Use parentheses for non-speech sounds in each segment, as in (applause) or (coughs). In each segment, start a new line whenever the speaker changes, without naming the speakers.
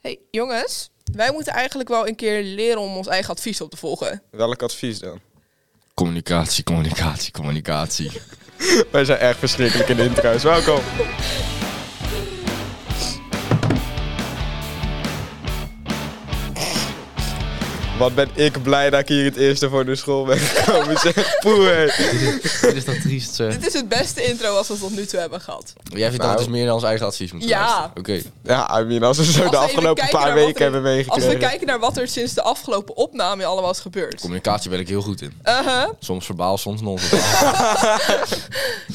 hey, jongens, wij moeten eigenlijk wel een keer leren om ons eigen advies op te volgen.
Welk advies dan? (laughs)
Communicatie, communicatie, communicatie.
Wij zijn echt verschrikkelijk in de intro's. Welkom. Wat ben ik blij dat ik hier het eerste voor de school ben
(laughs)
gekomen. zeg. Poeh, hé.
Dit is dat triest,
Dit is het beste intro als we tot nu toe hebben gehad.
Jij vindt
Nou.
dat dus meer dan ons eigen advies moeten
Ja.
luisteren. Oké.
Ja, I mean, als we zo
Als we
de
even
afgelopen
kijken
paar
naar wat
weken
er-
hebben
Als we
meegekregen.
kijken naar wat er sinds de afgelopen opname allemaal is gebeurd.
Communicatie ben ik heel goed in.
Uh-huh.
Soms verbaal, soms non-verbaal.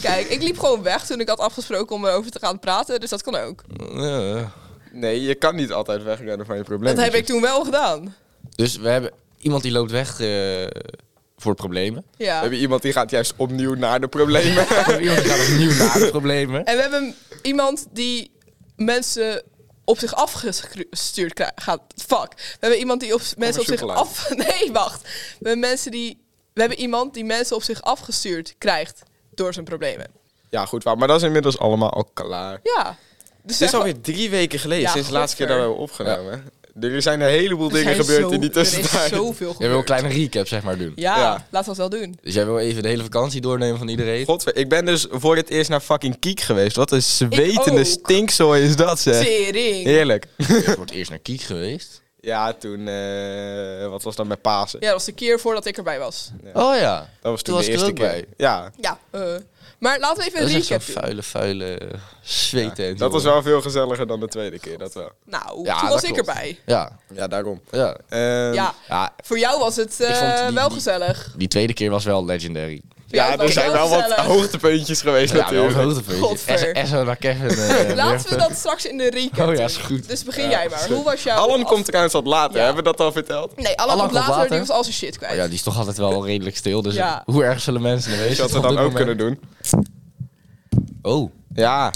Kijk, ik liep gewoon weg toen ik had afgesproken om erover te gaan praten, dus dat kan ook.
(laughs) Ja.
Nee, je kan niet altijd wegrennen van je probleem.
Dat heb ik toen wel gedaan.
dus we hebben iemand die loopt weg eh, voor (laughs) problemen.
Ja.
Heb je iemand die gaat juist opnieuw naar de problemen?
We hebben iemand die gaat opnieuw naar de problemen. (laughs)
En we hebben iemand die mensen op zich afgestuurd kri- gaat. Fuck. We hebben iemand die op mensen op zich
chocolade.
af. (laughs) Nee, wacht. We hebben mensen die. We hebben iemand die mensen op zich afgestuurd krijgt door zijn problemen.
ja, goed, waar. Maar dat is inmiddels allemaal al klaar.
Ja. Dus
Het is
zeg-
alweer drie weken geleden,
Ja,
sinds de laatste keer dat we
godver.
hebben opgenomen. Er zijn een heleboel
er
dingen
zijn
gebeurd
zo-
in die
Er is
tussentijd.
zoveel
Jij wil een
gebeurd.
kleine recap, zeg maar, doen.
Ja,
Ja.
laten we dat wel doen.
Dus jij wil even de hele vakantie doornemen van iedereen.
Godver, ik ben dus voor het eerst naar fucking Kiek geweest. Wat een
Ik
zwetende
ook.
stinkzooi is dat, zeg.
Tering.
Heerlijk.
Je wordt eerst naar Kiek geweest.
Ja, toen... eh, wat was dat met Pasen?
Ja, dat was de keer voordat ik erbij was.
Oh ja.
Dat was toen,
Toen was
de
ik er
eerste
ook
keer.
bij.
Ja,
Ja. eh, maar laten we even
Dat
een
is echt
recap
zo'n
doen.
vuile, vuile eh, zweten. en
dat
zo.
was wel veel gezelliger dan de tweede keer, dat wel.
Nou,
Ja,
toen
dat
was ik
klopt.
erbij.
Ja.
Ja, daarom.
ja.
Ehm,
Ja,
Ja,
voor jou was het
Ik vond
eh,
die-
wel
die-
gezellig.
die tweede keer was wel legendary.
Ja,
ja,
het
er
was
zijn
heel
wel wat
gezellig.
hoogtepuntjes geweest
Ja, wel een
natuurlijk.
hoogtepuntje.
Godver.
Es- SO naar Kevin. eh,
(laughs) Laten we
werpen.
dat straks in de recap
(laughs) Oh ja,
doen.
is goed.
Dus begin jij maar. Hoe was jouw...
Alan komt
af-
trouwens wat later,
Ja.
hebben we dat al verteld?
Nee, Alan, komt later,
later.
die was al zijn shit kwijt.
Oh ja, die is toch altijd wel redelijk stil. Dus
Ja.
hoe erg zullen mensen er
Dat
wezen?
had we dan ook kunnen doen.
Oh,
Ja.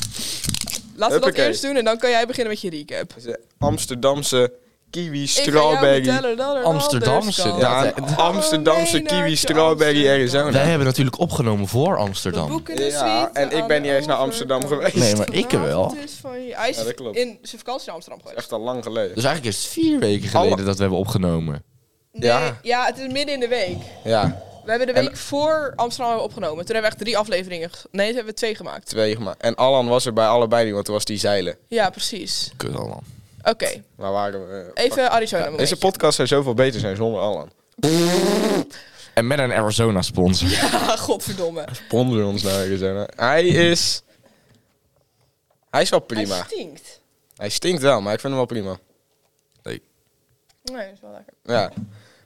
Laten we dat
Huppakee.
eerst doen en dan kan jij beginnen met je recap.
De Amsterdamse kiwi
Ik ga jou
strawberry.
vertellen dat er
Amsterdamse,
anders kan.
ja.
Ja, een Amsterdamse
Oh, nee,
kiwi
naar
strawberry
Amsterdam.
Arizona.
wij hebben natuurlijk opgenomen voor
We
Amsterdam.
boeken de
Ja,
suite
en ik
aan
ben
de
niet eens naar
overkant.
Amsterdam geweest.
Nee, maar ik er wel.
Het is dus van je- Hij is
Ja, dat klopt.
in zijn vakantie naar Amsterdam geweest.
Echt al lang geleden.
Dus eigenlijk is het vier weken
Alle-
geleden dat we hebben opgenomen.
Nee, ja.
Ja.
het is midden in de week.
Ja,
We hebben de
En-
week voor Amsterdam hebben opgenomen. Toen hebben we echt drie afleveringen... ge- Nee, toen hebben we twee gemaakt.
twee gemaakt. En Alan was er bij allebei niet, want toen was die zeilen.
Ja, precies.
Kut allemaal.
Oké,
Waar waren we? eh, fuck.
even Arizona momentje.
Deze podcast zou zoveel beter zijn zonder Alan.
En met een Arizona sponsor.
Ah, (laughs) godverdomme.
Sponsor ons naar Arizona. Hij is... Hij is wel
Hij
prima.
stinkt.
Hij stinkt wel, maar ik vind hem wel prima.
Nee, dat is wel lekker.
Ja.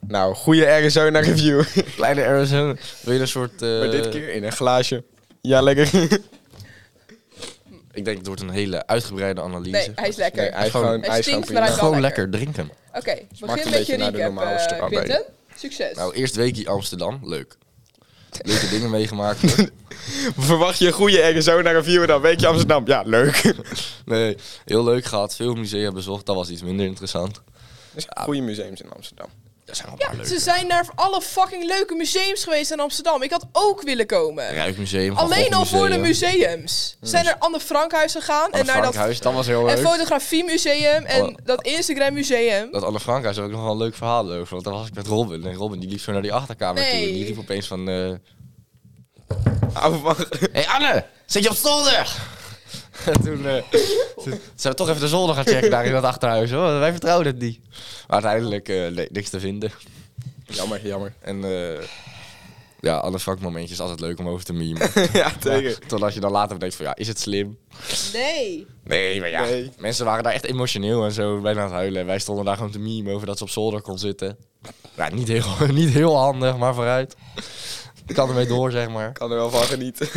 Nou, goede Arizona (laughs) review.
Kleine Arizona. Wil je een soort... eh,
maar dit keer in een glaasje. Ja, lekker. (laughs)
Ik denk het wordt een hele uitgebreide analyse.
Nee, hij is lekker.
Nee, hij is
Gewoon-
gewoon,
Hij
hij is gewoon
stinkt,
prima.
maar hij is wel
Gewoon
lekker.
lekker drinken.
Oké,
een
begin met je
beetje naar de
recap,
normale
eh
strawberry.
Quinten. Succes.
Nou, eerst weekje Amsterdam. Leuk.
(laughs)
Leuke dingen meegemaakt. (laughs) hoor.
(laughs) Verwacht je een goede Arizona review en dan weet je Amsterdam. Ja, leuk. (laughs)
Nee, heel leuk gehad. Veel musea bezocht. Dat was iets minder interessant.
Goede museums in Amsterdam.
Er zijn wel een paar
ja,
leuke.
ze zijn naar alle fucking leuke museums geweest in Amsterdam. Ik had ook willen komen.
Rijksmuseum. Van
Alleen
Gogh
al voor de
Museum.
museums. Ze zijn naar Anne Frankhuis gegaan
Anne
en naar dat,
Frankhuis, dat was heel
en
leuk.
fotografiemuseum en
Oh.
dat Instagram museum.
Dat Anne Frankhuis heb ik nog wel een leuk verhaal over. Want daar was ik met Robin. En Robin die liep zo naar die achterkamer toe.
Nee.
En die riep opeens van... eh,
Au, wacht. (laughs)
Hé hey Anne, zit je op (laughs) zolder? En toen eh, toen zijn we toch even de zolder gaan checken daar in dat achterhuis. Hoor. Wij vertrouwden het niet. Maar uiteindelijk eh, nee, niks te vinden.
Jammer, jammer.
En eh, ja, Anne Frank momentjes is altijd leuk om over te memen.
(laughs) ja, tegen.
Totdat je dan later denkt van ja, is Oh, het slim?
Nee.
Nee, maar ja.
Nee.
Mensen waren daar echt emotioneel en zo bijna aan het huilen. En wij stonden daar gewoon te meme over dat ze op zolder kon zitten. Nou, niet heel, (laughs) niet heel handig, maar vooruit. Ik kan ermee door, zeg maar.
Ik kan er wel van genieten.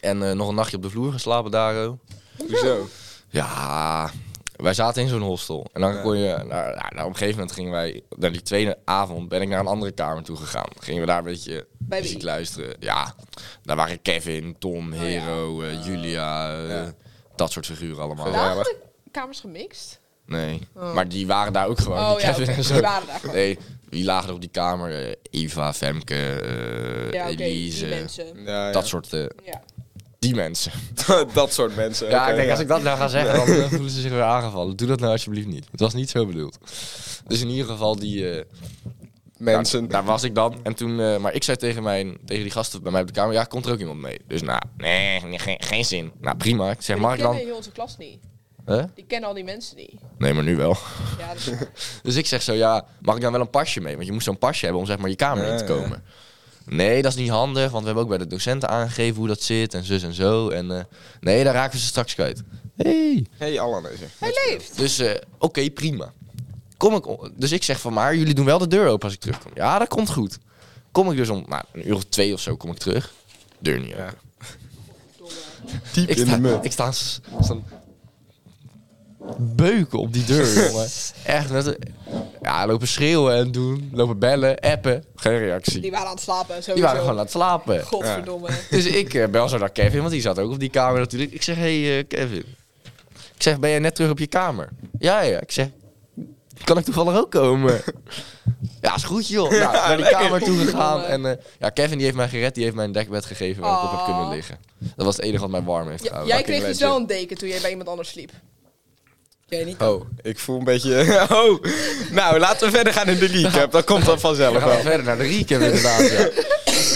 En eh, nog een nachtje op de vloer geslapen daar. oh.
(laughs) Hoezo?
Ja, wij zaten in zo'n hostel. En dan kon je... Naar, nou, op een gegeven moment gingen wij... Naar die tweede avond ben ik naar een andere kamer toe gegaan. Gingen we daar een beetje
Bij wie?
muziek luisteren. Ja, daar waren Kevin, Tom, Hero,
Oh
eh, Julia... eh,
Ja.
Dat soort figuren allemaal.
Waren
Gezellig.
de kamers gemixt?
Nee. Maar die waren daar ook gewoon.
Oh
die
ja,
Kevin
oké.
en zo.
Die waren daar gewoon.
Nee, wie lagen er op die kamer? Eh, Eva, Femke, eh,
Ja, oké. die
Elise.
mensen.
Ja, ja.
Dat soort. eh,
Ja.
Die mensen.
Dat- (laughs) dat soort mensen.
ja,
oké,
ik denk,
ja.
als ik dat nou ga zeggen, (laughs) dan eh, voelen ze zich weer aangevallen. Doe dat nou alsjeblieft niet. Het was niet zo bedoeld. Dus in ieder geval die... eh,
Mensen.
Daar, daar was ik dan. En toen, eh, maar ik zei tegen, mijn, tegen die gasten bij mij op de kamer, ja, komt er ook iemand mee? Dus nou, nee, nee, geen, geen zin. Nou, prima. Ik zeg, mag ik
die kennen
dan...
heel onze klas niet.
Huh?
Die kennen al die mensen niet.
Nee, maar nu wel.
Ja,
(laughs)
dat is
Dus ik zeg zo, ja, mag ik dan wel een pasje mee? Want je moest zo'n pasje hebben om zeg maar je kamer in te
Ja, ja.
komen. Nee, dat is niet handig, want we hebben ook bij de docenten aangegeven hoe dat zit en zus en zo. En eh, nee, daar raken we ze straks kwijt. Hey.
hey, Alan is er.
Hij leeft.
Dus eh, oké, prima. Kom ik, o- dus ik zeg van, maar jullie doen wel de deur open als ik terugkom. Ja, dat komt goed. Kom ik dus om nou, een uur of twee of zo kom ik terug. Deur niet open.
Diep
Ik
in de
sta,
mut.
ik sta s- staan beuken op die
(laughs)
deur, jongen. Echt, net, een- ja, lopen schreeuwen en doen, lopen bellen, appen. Geen reactie.
Die
Die,
waren aan het slapen. Sowieso.
waren gewoon aan het slapen.
Godverdomme.
Dus ik eh, bel zo naar Kevin, want die zat ook op die kamer natuurlijk. Ik zeg, hé hey, eh, Kevin. Ik zeg, ben jij net terug op je kamer? Ja, ja. Ik zeg, kan ik toevallig ook komen? (laughs) ja, is goed joh. Nou, naar die kamer toe gegaan. En eh, ja, Kevin die heeft mij gered, die heeft mij een dekbed gegeven waar ik op heb
Aw.
kunnen liggen. Dat was het enige wat mij warm heeft
Ja,
gehouden.
jij
Dat
kreeg
ging
dus
legend.
wel een deken toen jij bij iemand anders sliep. Jij niet?
Oh, ik voel een beetje... (laughs) Oh, nou, laten we verder gaan in de recap. Dat komt dan
We
vanzelf
gaan
wel.
verder naar de recap inderdaad, ja. (laughs)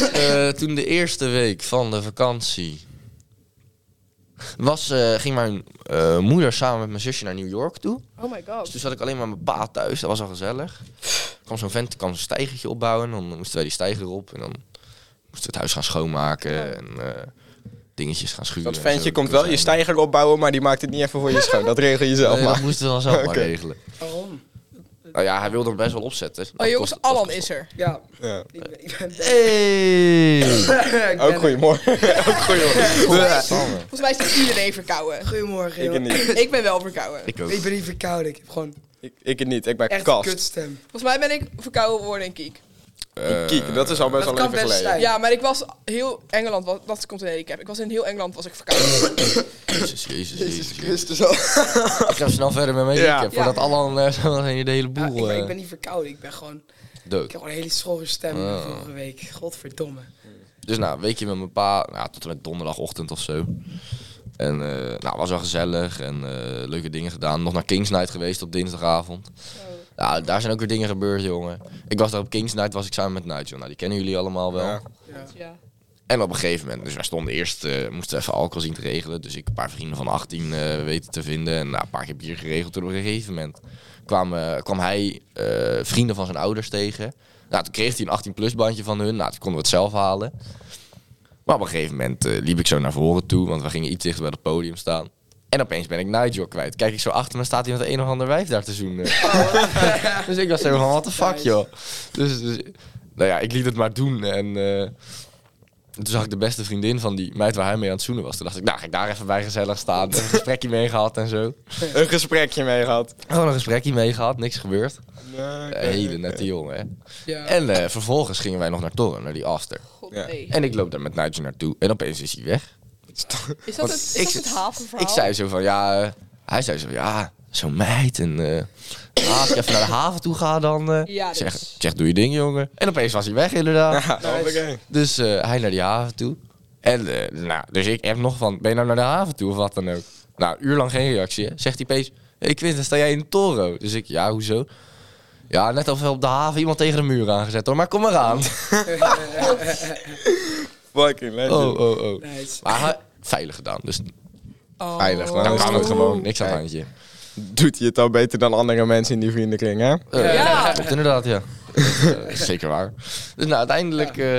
Eh, toen de eerste week van de vakantie... Was, eh, ging mijn eh, moeder samen met mijn zusje naar New York toe.
Oh my
Dus
god.
toen zat ik alleen maar met mijn pa thuis. Dat was al gezellig. Er kwam zo'n vent, kwam zo'n stijgertje opbouwen. Dan moesten wij die stijger op. En dan moesten we het huis gaan schoonmaken. En eh, dingetjes gaan schuren.
Dat
en
ventje
zo.
komt wel je stijger opbouwen, maar die maakt het niet even voor je schoon. Dat regel je zelf
Nee, dat
maar.
moesten we dan zelf maar
(laughs) Oké.
regelen.
Waarom?
Nou ja, hij wilde hem best wel opzetten.
Oh
Dat
jongens,
kost- dat
Alan
kost-
is er.
Ja,
Ja.
ik ben... Ik
(laughs)
ben
Hey!
ik ben-
Ook goeiemorgen. (laughs) Ook (laughs) goeiemorgen.
Volgens mij is iedereen
(laughs)
verkouden.
Goedemorgen,
Ik
joh.
het
Ik,
niet.
Ik ben wel verkouden.
Ik ook.
ben niet verkouden. Ik heb gewoon
Ik, ik het niet. Ik ben
echt
kast.
een kutstem.
Volgens mij ben ik verkouden geworden in Kiek.
Ik kiek. Dat is al best wel
dat kan
even
best
geleden.
zijn.
Ja, maar ik was heel Engeland, was, dat komt in de handicap. Ik was in heel Engeland was ik
(laughs)
verkouden.
Jezus, jezus, jezus. jezus.
Christus al. (laughs)
Ik ga snel verder met mijn
Ja.
recap. Voordat Alan eh, (laughs) zo meteen de hele
Ja, ik,
boel
ben, ik
eh
ben niet verkouden. Ik ben gewoon... Ik
dood.
heb gewoon een hele schorre stem
Ah.
vorige week. Godverdomme.
Dus nou, weet je met mijn pa, nou, tot en met donderdagochtend of zo. En eh nou, was wel gezellig en eh, leuke dingen gedaan. Nog naar Kings Night geweest op dinsdagavond. Nou, daar zijn ook weer dingen gebeurd, jongen. Ik was daar op Kings Night, was ik samen met Nigel. Nou, die kennen jullie allemaal wel.
Ja.
Ja.
Ja.
En op een gegeven moment, dus wij stonden eerst, eh, moesten even alcohol zien te regelen. Dus ik een paar vrienden van 18 eh, weten te vinden. En nou, een paar keer bier geregeld. Toen op een gegeven moment kwam, eh, kwam hij eh, vrienden van zijn ouders tegen. Nou, toen kreeg hij een 18-plus bandje van hun. Nou, toen konden we het zelf halen. Maar op een gegeven moment eh, liep ik zo naar voren toe, want we gingen iets dichter bij het podium staan. En opeens ben ik Nigel kwijt. Kijk ik zo achter me, staat iemand een of ander wijf daar te zoenen. (laughs) dus ik was zo van, what the fuck, joh. Dus, dus nou ja, ik liet het maar doen. En eh, toen zag ik de beste vriendin van die meid waar hij mee aan het zoenen was. Toen dacht ik, nou, ga ik daar even bij gezellig staan. Even een gesprekje mee gehad en zo.
Een gesprekje mee gehad. Eh,
Gewoon een gesprekje mee gehad, niks gebeurd. Een hele nette jongen, hè.
Ja.
En eh, vervolgens gingen wij nog naar Torren, naar die after.
God
Ja.
nee.
En ik loop daar met Nigel naartoe. En opeens is hij weg.
Is dat het,
Want
is
ik
dat
zit-
het havenverhaal?
Ik zei zo van, ja... eh, hij zei zo, ja, zo'n meid. En eh, ah, als ik even naar de haven toe ga, dan... eh,
Ja, dus.
zeg, ik zeg, doe je ding, jongen. En opeens was hij weg, inderdaad. (laughs)
Hoppakee.
Dus eh, hij naar die haven toe. En, eh, nou, dus ik heb nog van, ben je nou naar de haven toe of wat dan ook? Nou, uur lang geen reactie, hè. Zegt hij opeens, hé hey Quinten, sta jij in de Toro? Dus ik, ja, hoezo? Ja, net alsof op de haven iemand tegen de muur aangezet, hoor. Maar kom maar aan.
Fucking
Oh,
legend.
oh, oh.
Nice.
Maar hij- veilig gedaan, dus
Oh.
Veilig, maar-
dan kan het
Oh.
gewoon. Niks aan het handje.
Doet hij het al beter dan andere mensen in die vriendenkring, hè?
Eh,
Ja.
dat klopt inderdaad, ja. Eh, zeker waar. Dus nou, uiteindelijk... eh,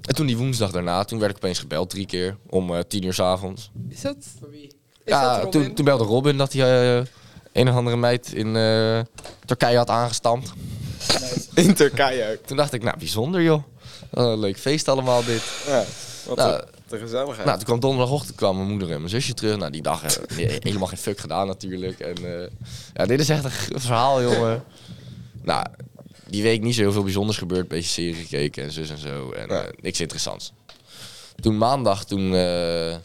en toen die woensdag daarna, toen werd ik opeens gebeld drie keer. Om eh, tien uur s'avonds.
Is dat, is
Voor wie?
dat
Ja,
Robin?
toen, toen belde Robin dat hij eh, een of andere meid in eh, Turkije had aangestampt.
Nice.
(laughs) In Turkije ook.
Toen dacht ik, nou bijzonder joh. Wat een leuk feest allemaal dit.
Ja, wat
Nou,
een- wat een
Eh.
gezelligheid.
Nou, toen kwam donderdagochtend kwam mijn moeder en mijn zusje terug. Nou, die (laughs) dag eh, he- helemaal geen fuck gedaan natuurlijk. En eh, ja, dit is echt een g- (laughs) verhaal,
(laughs)
jongen. Nou, die week niet zo heel veel bijzonders gebeurd. beetje serie gekeken en zus en zo. En
Ja.
eh, niks interessants. Toen maandag, toen... eh,
We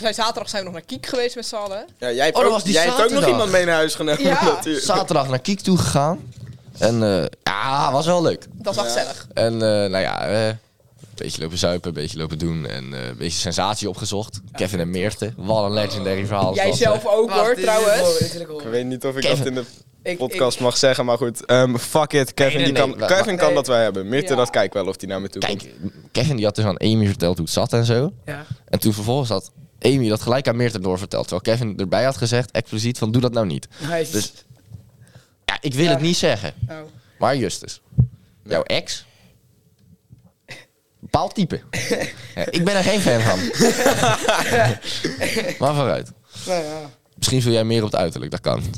zijn zaterdag zijn we nog naar Kiek geweest met z'n allen.
ja, jij hebt,
Oh, dat
ook,
was die
jij hebt ook nog
zaterdag.
iemand mee naar huis genomen,
Ja.
(laughs) natuurlijk.
zaterdag naar Kiek toe gegaan. En eh, ja, was wel leuk.
Dat was
Ja.
gezellig.
En eh, nou ja, eh, beetje lopen zuipen, een beetje lopen doen en eh, een beetje sensatie opgezocht. Kevin en Meerte, wat een legendary verhaal. is
Jij
dat,
zelf
hè?
ook
Wacht,
hoor,
dit wil ik horen,
trouwens.
dit wil Oh, ik horen.
Ik weet niet of ik dat
Kevin.
in de
Ik-
podcast mag zeggen, maar goed. Ehm, fuck it, Kevin,
nee,
die kan,
nee, wa-
Kevin kan
nee.
dat wij hebben. Mirte,
Ja.
dat kijk wel of die naar me toe komt.
Kijk, Kevin die had dus aan Amy verteld hoe het zat en zo.
Ja.
En toen vervolgens had Amy dat gelijk aan Meerte doorverteld. Terwijl Kevin erbij had gezegd, expliciet, van doe dat nou niet.
Nice.
Dus- Ja, ik wil
Ja.
het niet zeggen.
Nou,
Maar Justus, jouw ex... Bepaald type. Ja, ik ben er geen fan van. maar vooruit.
nou ja,
Misschien wil jij meer op het uiterlijk, dat kan.
(laughs)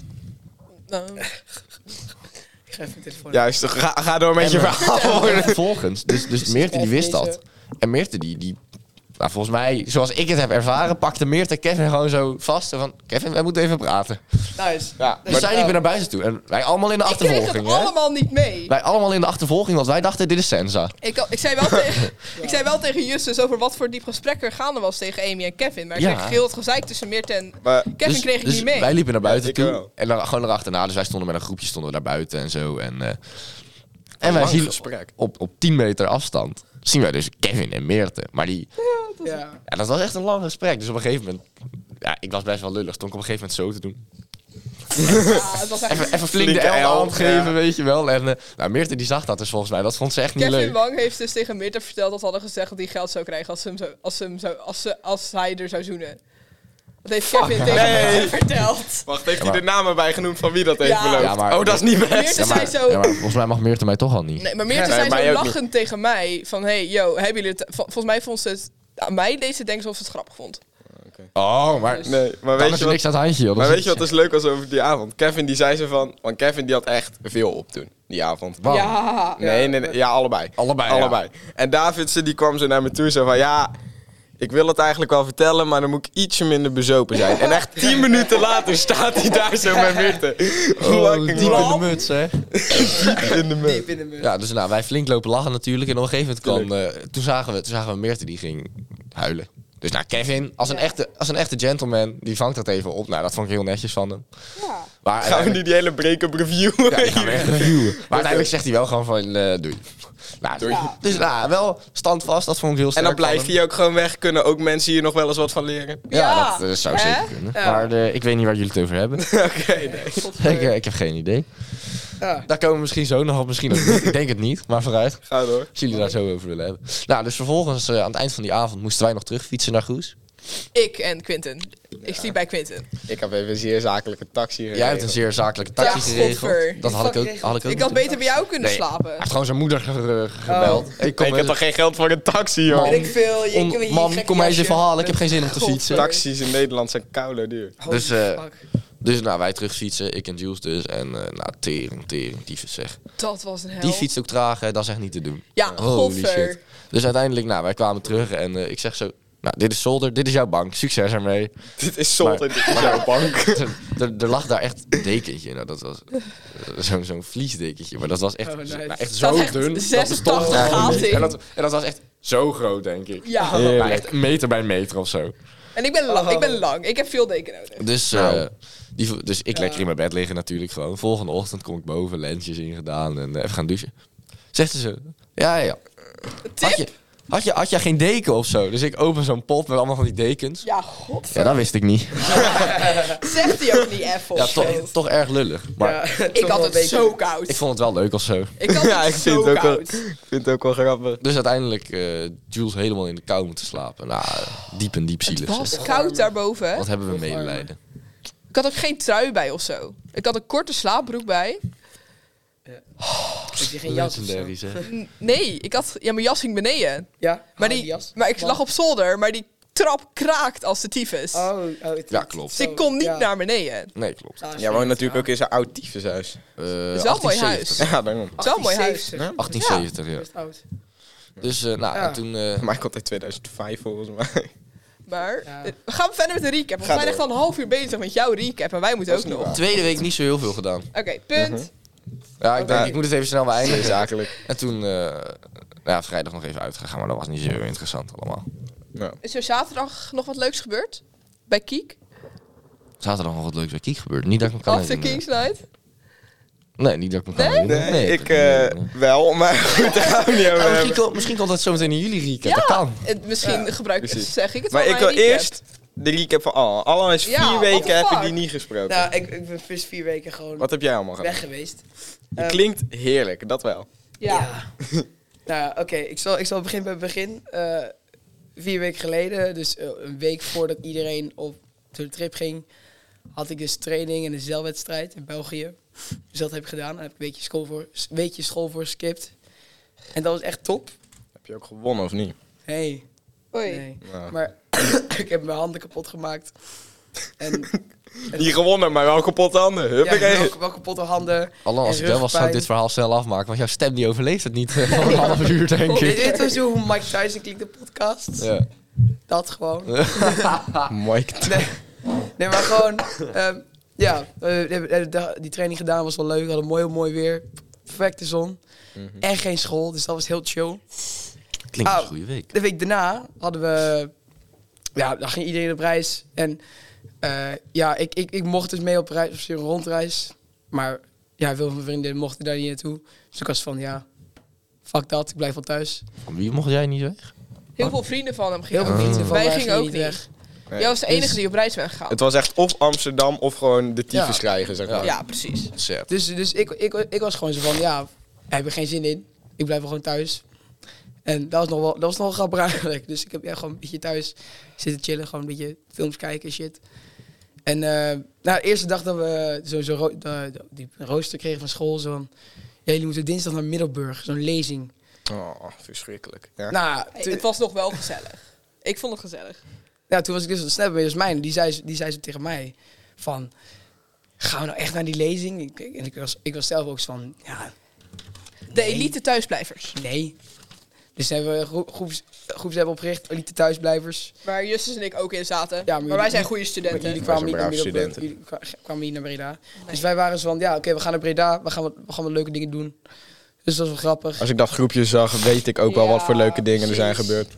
Nou,
ik ga even mijn telefoon.
Juist, ga, ga door met je
(laughs) En, eh,
verhaal.
Vervolgens, dus, dus Meerte die wist dat. En Meerte die, die nou, volgens mij, zoals ik het heb ervaren, pakte Meerte Kevin gewoon zo vast. Zo van, Kevin, wij moeten even praten.
Nice.
Ja,
Dus zij liep naar buiten toe. En wij allemaal in de
ik kreeg het
achtervolging, hè?
allemaal niet mee.
Wij allemaal in de achtervolging, want wij dachten, dit is Senza.
Ik, ik, zei
(laughs)
wel tegen, ik zei wel tegen Justus over wat voor diep gesprek er gaande was tegen Amy en Kevin. Maar ik
Ja.
kreeg heel het gezeik tussen Meert en
maar,
Kevin
dus,
kreeg ik
dus
niet mee.
wij liepen naar buiten
ik
toe.
wel.
En dan gewoon erachterna. Dus wij stonden met een groepje stonden we daar buiten en zo. En, eh, en wij
lang
zien
gesprek.
op, op 10 meter afstand, zien wij dus Kevin en Meerte. Maar die,
Ja.
Ja, dat was echt een lang gesprek. Dus op een gegeven moment... Ja, ik was best wel lullig. Toen ik op een gegeven moment zo te doen.
Ja, Ah, het was echt...
Even, even flink de
Flinke
L
L,
hand geven,
ja.
weet je wel. En eh, nou, Meerte die zag dat dus volgens mij. Dat vond ze echt niet
Kevin
leuk.
Wang heeft dus tegen Meert verteld dat ze hadden gezegd dat hij geld zou krijgen als, ze hem zou, als, ze hem zou, als, ze, als hij er zou zoenen. Dat heeft Kevin tegen
Nee.
Meert verteld.
Wacht, heeft
Ja,
hij de namen bij genoemd van wie dat heeft
Ja.
beloofd?
(laughs) Ja, maar-
oh, dat is niet best.
Meert zei zo...
ja, maar volgens mij mag Meerte mij toch al niet.
Nee, maar Meerte
Nee,
zei
mij
zo
ook niet.
lachend tegen mij van... Hey, yo, hebben jullie het... vol- Volgens mij vond ze het... Aan mij deed ze denken alsof ze het grappig vond.
Oh, maar...
Dus-
Nee, maar
Dan
weet
is
je
er
wat,
niks aan het handje, joh. Dat
maar
is
weet je wat dus leuk was over die avond? Kevin die zei ze van, want Kevin die had echt veel op toen, die avond.
(laughs) Wauw.
Ja.
Nee, nee, nee, ja, allebei.
Allebei,
allebei. En Davidsen die kwam zo naar me toe zo van, ja, ik wil het eigenlijk wel vertellen, maar dan moet ik ietsje minder bezopen zijn. En echt (laughs) tien minuten later staat hij daar zo met Mirte. (laughs)
Oh,
Fucking
diep in de
lap.
muts, hè.
in de muur.
Diep in de muur.
Ja, dus nou, wij flink lopen lachen natuurlijk. En op een gegeven moment kwam... eh, toen, zagen we, toen zagen we Meerte die ging huilen. Dus nou, Kevin, als een,
Ja.
echte, als een echte gentleman, die vangt dat even op. Nou, dat vond ik heel netjes van hem.
Ja.
Maar
Gaan we nu die hele break-up review? (laughs)
(laughs) Ja, die gaan we echt reviewen. Maar uiteindelijk zegt hij wel gewoon van, eh, doei. Nou,
Doei.
Ja.
Dus nou, wel standvast, dat vond ik heel
en
sterk.
dan blijft
van
hij ook gewoon weg. Kunnen ook mensen hier nog wel eens wat van leren?
hem. Ja,
Ja.
dat eh, zou
Hè?
zeker kunnen.
Ja.
Maar eh, ik weet niet waar jullie het over (laughs) hebben.
Oké,
ik, eh, ik heb geen idee.
Ja.
Daar komen we misschien zo nog op, misschien ook niet. Ik denk het niet, maar vooruit.
ga door.
Als jullie daar zo over willen hebben. Nou, dus vervolgens, eh, aan het eind van die avond, moesten wij nog terugfietsen naar Goes.
Ik en Quinten. Ik sliep bij Quinten.
Ik heb even een zeer zakelijke taxi gereden.
Jij hebt een zeer zakelijke taxi
Ja, godver.
geregeld. Dat had ik ook, had ik ook
Ik had
moeten-
beter Oh. bij jou kunnen
Nee.
slapen.
Hij heeft gewoon zijn moeder ge- ge- gebeld. Ik kom
ik heb
eens-
toch geen geld voor een taxi, joh.
Weet ik veel. Je,
om-
ik heb hier
mam,
gek
kom mij eens
jasje.
even halen. Ik heb geen zin om te
Godver.
fietsen.
Taxis in Nederland zijn koude duur. (laughs)
Holy
Dus, eh,
fuck.
Dus nou, wij terugfietsen, ik en Jules dus. En eh nou, tering, tering, tyfus zeg.
Dat was een hel.
Die fietst ook traag, hè, dat is echt niet te doen.
Ja, godver.
Dus uiteindelijk, nou, wij kwamen terug en eh, ik zeg zo... Nou, dit is zolder, dit is jouw bank,
(laughs)
succes ermee.
Dit is zot en dit is jouw (laughs) bank.
er, er- er lag daar echt een dekentje, nou, dat was eh, zo'n zo'n vliesdekentje. Maar dat was echt,
Oh, nice.
nou, echt
Dat
zo
was echt
dun. dat
86
bestond eigenlijk niet.
gaten.
En dat, en dat was echt zo groot, denk ik.
Ja.
Nou,
Heerlijk.
echt een meter bij een meter of zo.
En ik ben, lang,
Oh.
ik ben lang. Ik heb veel deken nodig.
Dus,
Nou.
eh, die, vo- dus ik lekker in mijn bed liggen natuurlijk gewoon. Volgende ochtend kom ik boven, lensjes ingedaan en eh, even gaan douchen. Zegt ze, ja, ja, ja. Had je,
Tip?
had, je, had jij geen deken of zo? Dus ik open zo'n pot met allemaal van die dekens.
Ja, Oh, god.
Ja, dat wist ik niet.
Zegt hij ook niet even
Ja,
of zo.
toch, toch erg lullig. Maar
Ja, (laughs) toch
Ik
wel
had
een
het
beetje-
zo koud.
ik vond het wel leuk of zo.
Ik
(laughs)
had
Ja,
het
ik vind
zo
het ook wel-
koud.
Ik vind het ook wel grappig.
Dus uiteindelijk eh Jules helemaal in de kou moeten slapen. Nou, eh, diep en diep zielig.
Het was
zeg.
koud daarboven. hè?
Wat hebben we medelijden.
Ik had ook geen trui bij of zo. Ik had een korte slaapbroek bij.
Heb je geen jas of zo?
Legendary zeg.
N- Nee, ik had... Ja, mijn jas ging beneden.
Ja?
Maar,
Oh,
die,
jas.
maar ik
Man.
lag op zolder, maar die trap kraakt als de tyfus.
Oh, oh, het-
Ja, klopt.
Dus ik kon niet
ja.
naar beneden.
Nee, klopt.
Ah,
Jij woont natuurlijk ook in zijn oud tyfushuis. (laughs)
Eh,
is wel een mooi
1870.
Ja, daarom.
Het is wel een mooi huis.
1870.
1870, ja.
Best oud.
Dus eh, nou,
Ja.
en toen... eh,
Maar ik had in 2005 volgens mij.
Maar
Ja.
eh, we gaan verder met de recap. want We
Ga
zijn echt
door.
al een half uur bezig met jouw recap. En wij moeten
Dat
ook
is niet
nog.
waar.
Tweede week niet zo heel veel gedaan.
Oké, punt.
Mhm.
Ja, ik, denk,
Oké.
ik moet het even snel beëindigen.
Zeer zakelijk.
En toen, eh, ja, vrijdag nog even uitgegaan, maar dat was niet zo heel interessant allemaal.
Nou,
Is er zaterdag nog wat leuks gebeurd? Bij Kiek?
Zaterdag nog wat leuks bij Kiek gebeurd. Niet dat ik me kan
After
herinneren.
Kings Night?
Nee, niet dat ik me kan herinneren.
Nee,
dat
ik
kan me
eh,
herinneren.
wel, maar (laughs) goed, daar gaan we niet
Oh,
Ah,
over
misschien,
hebben.
komt, misschien komt dat zo meteen in jullie recap. Dat kan.
Het- Misschien gebruik
precies.
zeg ik het
Maar
wel
ik
in
wil
mijn recap.
eerst de recap van Alan. Alan is vier
Ja, what the
weken, heb ik
fuck?
die niet gesproken.
Nou, ik, ik ben first vier weken gewoon
Wat heb jij allemaal gedaan?
weg geweest.
Je
eh,
Ehm,
klinkt heerlijk, dat wel.
Ja.
nou, oké, ik, zal, ik zal beginnen bij het begin. Eh, vier weken geleden, dus eh, een week voordat iedereen op de trip ging, had ik dus training en een zeilwedstrijd in België. Dus dat heb ik gedaan. Daar heb ik een weekje school voor, een weekje school voor geskipt. En dat was echt top.
Heb je ook gewonnen of niet?
Hey.
Oei.
Nee.
Nou.
Maar (coughs) ik heb mijn handen kapot gemaakt. En
Niet gewonnen, maar wel kapot handen.
ja, ik
(laughs) Huppakee.
heb wel, wel kapotte handen.
Allan, als
En
ik wel was, zou ik
rugpijn.
dit verhaal snel afmaken. Want jouw stem die overleeft het niet
(laughs)
eh, voor een half uur, denk
Dit
ik.
dit is hoe Mike Tyson klinkt de podcast.
Ja.
Dat gewoon.
(laughs) Mike.
Nee, nee maar gewoon... ehm, ja, we hebben- eh, de- die training gedaan was wel leuk. We hadden mooi, mooi weer. Perfecte zon.
Mhm.
En geen school, dus dat was heel chill.
Klinkt als
Ah.
een goede week.
De week daarna hadden we... Ja, dan ging iedereen op reis. En eh, ja, ik, ik, ik mocht dus mee op reis, op zo'n rondreis. Maar ja, veel van mijn vrienden mochten daar niet naartoe. Dus ik was van, ja, fuck dat. Ik blijf wel thuis.
Van Wie mocht jij niet weg?
Heel veel vrienden van hem gingen
Heel veel vrienden
ook.
van
Wij
mij
gingen ook niet.
weg.
Nee.
Jij was de enige
Dus-
die op reis bent gegaan.
Het was echt of Amsterdam of gewoon de tyfus
Ja.
krijgen, zeg maar.
Ja, precies.
Zet.
Dus, dus ik, ik, ik was gewoon zo van, ja, ik heb er geen zin in. Ik blijf wel gewoon thuis. En dat was nog wel, dat was nog wel grappig eigenlijk. Dus ik heb ja, gewoon een beetje thuis zitten chillen. Gewoon een beetje films kijken en shit. En eh nou, de eerste dag dat we sowieso ro- de- de- die rooster kregen van school. Zo van, ja, jullie moeten dinsdag naar Middelburg. Zo'n lezing.
Oh, verschrikkelijk. Ja.
Nou,
Hey,
toen-
het was nog wel gezellig. Ik vond het gezellig.
Ja, toen was ik dus aan het snappen. Dus mijn, die zei, die zei ze tegen mij van, gaan we nou echt naar die lezing? Ik- ik- En ik was, ik was zelf ook zo van, ja,
De elite thuisblijvers.
nee. Dus toen hebben we een groep, groeps, groeps hebben opgericht, elite thuisblijvers.
Waar Justus en ik ook in zaten.
maar
maar, wij
jullie-
zijn goede
Maar
studenten.
jullie
Wij
kwamen
zijn
niet, naar
brave
Middelburg,
studenten.
jullie kwa- kwamen niet naar Breda. Dus wij waren zo van, ja, oké, we gaan naar Breda, we gaan, wat, we gaan wat leuke dingen doen. Dus dat was wel grappig.
Als ik dat groepje zag, weet ik ook wel wat voor
Ja,
leuke dingen er zijn
precies.
gebeurd.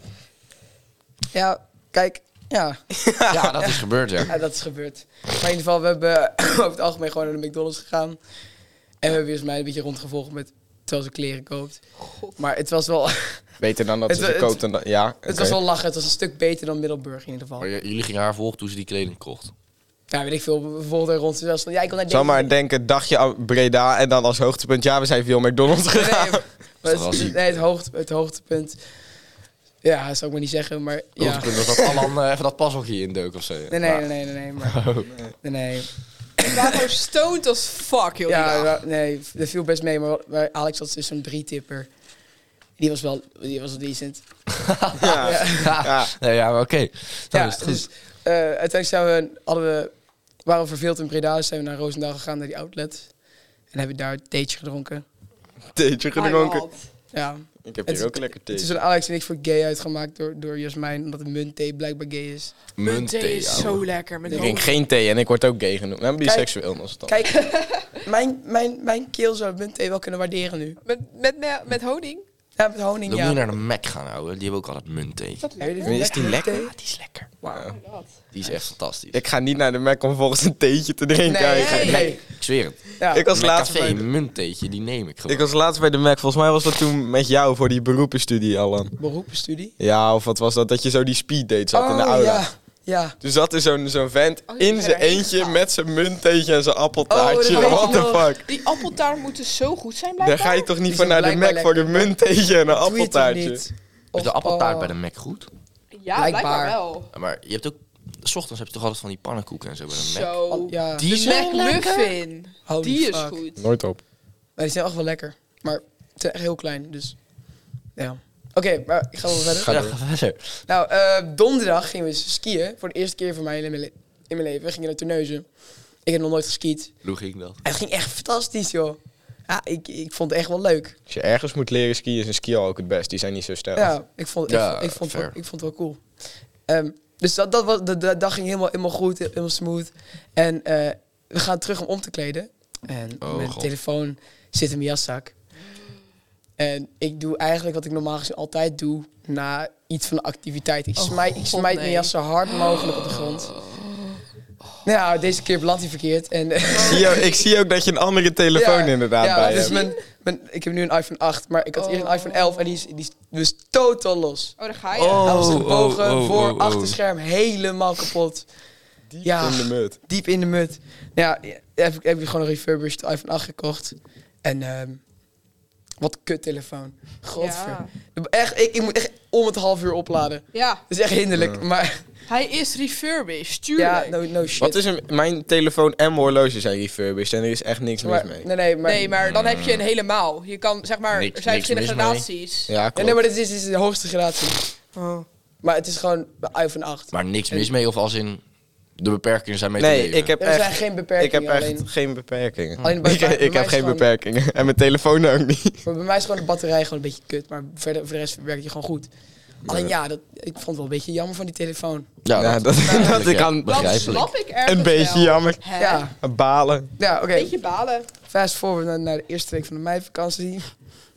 Ja, kijk, ja,
Ja, dat is gebeurd, ja.
ja, dat is gebeurd. Maar in ieder geval, we hebben (clears throat) over het algemeen gewoon naar de McDonald's gegaan. En we hebben dus mij een beetje rondgevolgd met, terwijl ze kleren koopt.
God.
Maar het was wel... (laughs)
Beter dan dat
Het-
ze
het-
gekoopt en dat... Ja,
Het
oké.
was wel lachen. Het was een stuk beter dan Middelburg in ieder geval.
Maar j- jullie gingen haar volgen toen ze die kleding kocht.
Ja, weet ik veel. Bijvoorbeeld een rond zelfs van, ja, ik wil naar deze.
Zal maar denken, dagje aan Breda en dan als hoogtepunt... Ja, we zijn veel McDonald's
Nee,
gegaan.
nee,
(laughs)
maar
Dat was
het,
niet.
nee, het, hoogte, het hoogtepunt. Ja, dat zou ik maar niet zeggen, maar ja.
Ja. Dat dat Allan eh, even dat pashoekje indeuk of zo. ja.
Nee, nee, nee, nee, nee, nee,
Oh.
maar, nee, nee.
We waren gewoon stoned als fuck, joh.
Ja,
Ja,
wa- nee, dat viel best mee, maar maar Alex had dus zo'n drie-tipper. Die was wel, die was wel decent.
Ja.
Ja.
(laughs) Ja.
(laughs) Nee, ja, maar oké. Nou,
Ja,
is het goed.
dus eh, uiteindelijk zijn we, hadden we, waren we verveeld in Breda, dus zijn we naar Roosendaal gegaan, naar die outlet. En hebben daar een theetje gedronken.
Theetje gedronken.
Ja,
Ik heb
Het
hier
is-
ook een lekker
Het is
theetje.
een Alex en ik voor gay uitgemaakt door, door Jasmijn, omdat de muntthee blijkbaar gay is.
Munt thee is
ouwe.
zo lekker. Met
Ik
honing.
drink geen thee en ik word ook gay genoemd. En biseksueel was het dan.
Kijk, (laughs) mijn, mijn, mijn keel zou muntthee wel kunnen waarderen nu.
Met, met, me- met honing.
Ja, met honing,
Dan moet je
ja.
naar de Mac gaan houden. Die hebben ook altijd muntthee.
Dat
Heb je
lekker.
dit
Is die lekker?
muntthee?
Ja, die is lekker.
Wauw.
Die is echt fantastisch. Ik,
Ik ga niet naar de Mac om volgens een theetje te drinken.
Nee,
Ik ga-
nee, nee.
zweer het.
Ja,
Ik was
Mijn
laatst
café,
bij
een munttheetje, die neem ik gewoon.
Ik was laatst bij de Mac. Volgens mij was dat toen met jou voor die beroepenstudie, Alan.
beroepenstudie.
Ja, of wat was dat? Dat je zo die speeddate zat in de aula.
Oh, ja, ja.
Toen zat er Dus zo'n zo'n vent
Oh, die
in
is
zijn
er echt
eentje
gaaf.
met zijn muntteetje en zijn appeltaartje.
Oh, dat weet
What
ik
the
nog.
fuck?
Die appeltaart moeten zo goed zijn, blijkbaar.
Daar ga je toch niet
Die
voor
zijn
naar de Mac
blijkbaar
voor een muntteetje en een
Doe je het toch
appeltaartje?
niet?
Is
Of-
de appeltaart
oh.
bij de Mac goed?
Ja, blijkbaar,
Blijkbaar.
wel.
Ja, Maar je hebt ook... S ochtends heb je toch altijd van die pannenkoeken en zo bij de Mac.
Zo.
Oh, ja.
Die
De
zijn lekker.
McMuffin.
Holy
Die is
fuck.
goed.
Nooit op.
Maar die zijn echt wel lekker. Maar ze zijn echt heel klein, dus... Ja. Oké, maar ik ga wel verder.
Ga door. ga verder.
Nou, eh, donderdag gingen we skiën. Voor de eerste keer voor mij in mijn, le- in mijn leven. We gingen naar Terneuzen. Ik heb nog nooit geskiet.
Hoe ging dat?
En het ging echt fantastisch, joh. Ja, ik, ik vond het echt wel leuk.
Als je ergens moet leren skiën, is een ski ook het best. Die zijn niet zo sterk.
Ja, ik vond, ik,
Ja,
vond- ik, vond, het wel-
fair.
ik vond het wel cool. Ehm, dus dat, dat was, de, de dag ging helemaal, helemaal goed, helemaal smooth. En eh, we gaan terug om om te kleden. En
Oh,
mijn
God.
telefoon zit in mijn jaszak. En ik doe eigenlijk wat ik normaal gezien altijd doe na iets van de activiteit. Ik
Oh,
smijt, ik
God,
smijt mijn
nee. Oh.
jas zo hard mogelijk op de grond. Nou ja, deze keer belandt hij verkeerd. En, eh,
Zie je- ik zie ook dat je een andere telefoon inderdaad
ja,
bij
dat is
hebt.
mijn, mijn, ik heb nu een iPhone 8, maar ik had eerst een
Oh.
iPhone 11 en die is, die is dus totaal los.
Oh, daar ga je.
Oh,
Hij was gebogen,
oh, oh,
voor,
oh, oh.
achterscherm, helemaal kapot. ja,
In de mut.
diep in de mut. Nou ja, heb, ik- heb ik gewoon een refurbished iPhone 8 gekocht. En ehm, wat kut telefoon. Godver.
Ja.
Echt, ik, ik moet echt om het half uur opladen.
Ja,
Dat is echt hinderlijk, maar
hij is refurbished,
ja, nou,
tuurlijk.
no, no shit.
Wat is een, mijn telefoon en mijn horloge zijn refurbished en er is echt niks
maar,
mis mee.
Nee, nee, maar...
nee, maar dan heb je een helemaal. Je kan, zeg maar,
Niks-
er zijn
niks
verschillende
mis mee.
gradaties.
Ja,
Ja,
klopt.
nee, maar dit is, dit is de hoogste gradatie. Maar het is gewoon de iPhone 8.
Maar niks mis mee of als in de beperkingen zijn mee te
Nee,
leven.
ik heb
er zijn
echt,
geen
ik
beperkingen,
heb echt
alleen,
geen beperkingen.
alleen
(laughs)
bij,
Ik,
bij- bij
ik
mij
heb
is
geen
gewoon-
beperkingen. En mijn telefoon ook niet.
Maar bij mij is gewoon de batterij gewoon een beetje kut, maar verder, voor de rest werkt je gewoon goed. Alleen ja, dat, ik vond het wel een beetje jammer van die telefoon.
(laughs) Ja,
Ja, dat, dat ik aan
Dat
Begrijpelijk.
snap ik ergens
een beetje
wel.
jammer.
Hè?
Ja,
Balen.
ja oké.
Een beetje balen.
Fast forward naar, naar de eerste week van de meivakantie.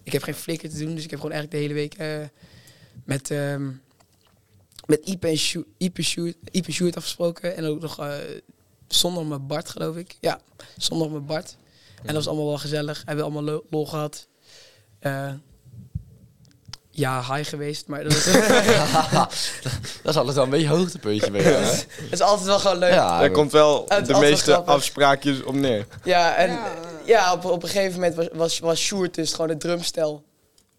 Ik heb geen flikker te doen, dus ik heb gewoon eigenlijk de hele week eh, met, ehm met Ipe en Sjoe- Ipe Sjoerd- Ipe Sjoerd afgesproken. En ook nog eh, zondag met Bart, geloof ik. Ja, zondag met Bart. En dat was allemaal wel gezellig. Hebben we allemaal lo- lol gehad. Eh, ja, high geweest, maar dat is, (laughs)
dat is altijd wel een beetje hoogtepuntje bij
(laughs)
jou, hè?
dat is altijd wel gewoon leuk. Ja,
Ja,
Daar komt wel
Het is
de
altijd
meeste
grappig.
afspraakjes om neer.
en
Ja.
ja, op, op een gegeven moment was, was, was Sjoerd dus gewoon het drumstel.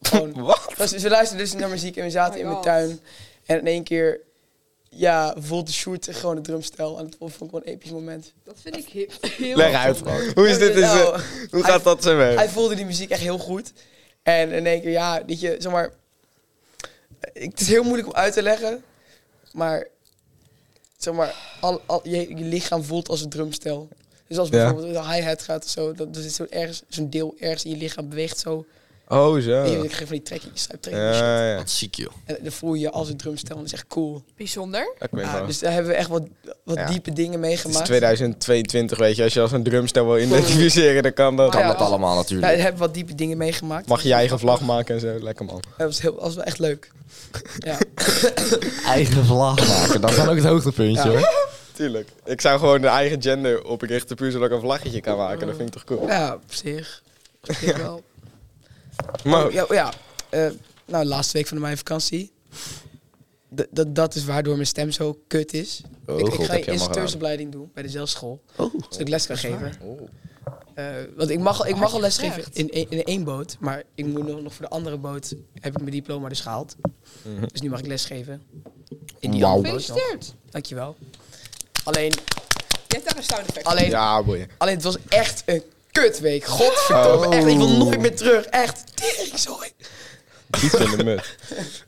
Gewoon
Wat?
Dus we luisterden dus naar muziek en we zaten
Oh my
in
God.
mijn tuin. En in één keer, ja, voelde Sjoerd gewoon het drumstel. En dat vond ik wel een episch moment.
Dat vind ik he- heel...
Leg uit. Hoe, is dit, is,
Nou,
hoe
hij-
gaat dat zijn
hij
werk?
voelde die muziek echt heel goed. En in één keer, ja, weet je, zeg maar... ik- Het is heel moeilijk om uit te leggen. Maar, zeg maar, al, al, je, je lichaam voelt als een drumstel. Dus als
Ja.
bijvoorbeeld de hi-hat gaat of zo, dat, dus zo'n ergens- zo'n deel ergens in je lichaam beweegt zo.
Oh, zo.
En je krijgt van die trekjes,
Ja,
trekjes.
ja.
Wat ziek, joh.
En dan voel je je als een drumstel en dat is echt cool.
Bijzonder.
Dat klinkt
Ja,
wel.
dus daar hebben we echt wat, wat
Ja.
diepe dingen
Het is
meegemaakt.
2022, weet je. Als je als een drumstel wil identificeren, dan kan dat.
Kan
Ja.
dat allemaal
Ja, daar
natuurlijk.
hebben we wat diepe dingen meegemaakt.
Mag je je eigen vlag maken en zo. Lekker man.
Dat was, heel, dat was wel echt leuk. Ja.
Eigen vlag maken, dat is dan ook het hoogtepuntje,
Ja.
hoor.
Tuurlijk. Ik zou gewoon een eigen gender oprichten, puur zodat ik een vlaggetje kan maken. Dat vind ik toch cool.
ja, op zich. Op zich wel.
Maar
Oh, ja, ja. eh, nou, laatste week van mijn vakantie. D- dat- dat is waardoor mijn stem zo kut is.
Oh,
ik,
god,
ik
heb
ga een
je helemaal
instructeursopleiding doen bij de zelfschool.
Oh.
Zodat ik les kan geven. Eh, want ik mag al, ik mag al les geven
Echt?
in, één- in één boot. Maar ik moet nog, nog voor de andere boot heb ik mijn diploma dus gehaald. Dus nu mag ik les geven. In die
Mhm. Wauw.
andere boot nog.
Gefeliciteerd.
Dankjewel. Alleen,
Je hebt daar een sound effect.
alleen,
ja, boeien.
alleen het was echt een kutweek. Godverdomme,
Oh.
echt. Ik wil nooit meer terug. Echt. Tering, sorry.
Diep in de
(laughs)
mut.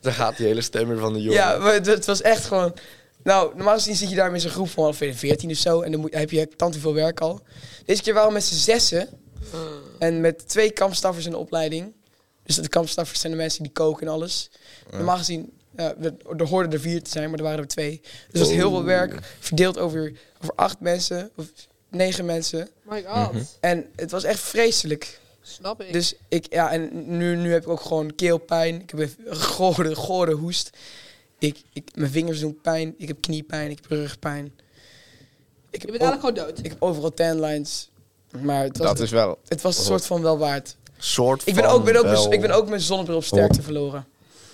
Daar gaat die hele stemmer van de jongen.
Ja, maar het, het was echt gewoon... Nou, normaal gezien zit je daar met zo'n groep van ongeveer 14 of zo. En dan moet, heb je tant veel werk al. Deze keer waren we met z'n zessen. En met twee kampstaffers in de opleiding. Dus de kampstaffers zijn de mensen die koken en alles. Normaal gezien, ja, we, er hoorden er vier te zijn, maar er waren er twee. Dus dat was heel veel werk. Verdeeld over, over acht mensen, of negen mensen.
My god.
En het was echt vreselijk.
Snap ik.
Mhm. Dus ik, ja, en nu, nu heb ik ook gewoon keelpijn. Ik heb een gore, gore hoest. Ik, ik, mijn vingers doen pijn. Ik heb kniepijn. Ik heb rugpijn. Ik
je
heb,
bent
o-
eigenlijk gewoon dood.
ik heb overal tanlines. Maar het was,
Dat is wel.
het was een soort van wel waard.
Soort
Ik ben
van
ook, ben ook, mijn-
wel-
ik ben ook mijn zonnebril op sterkte verloren.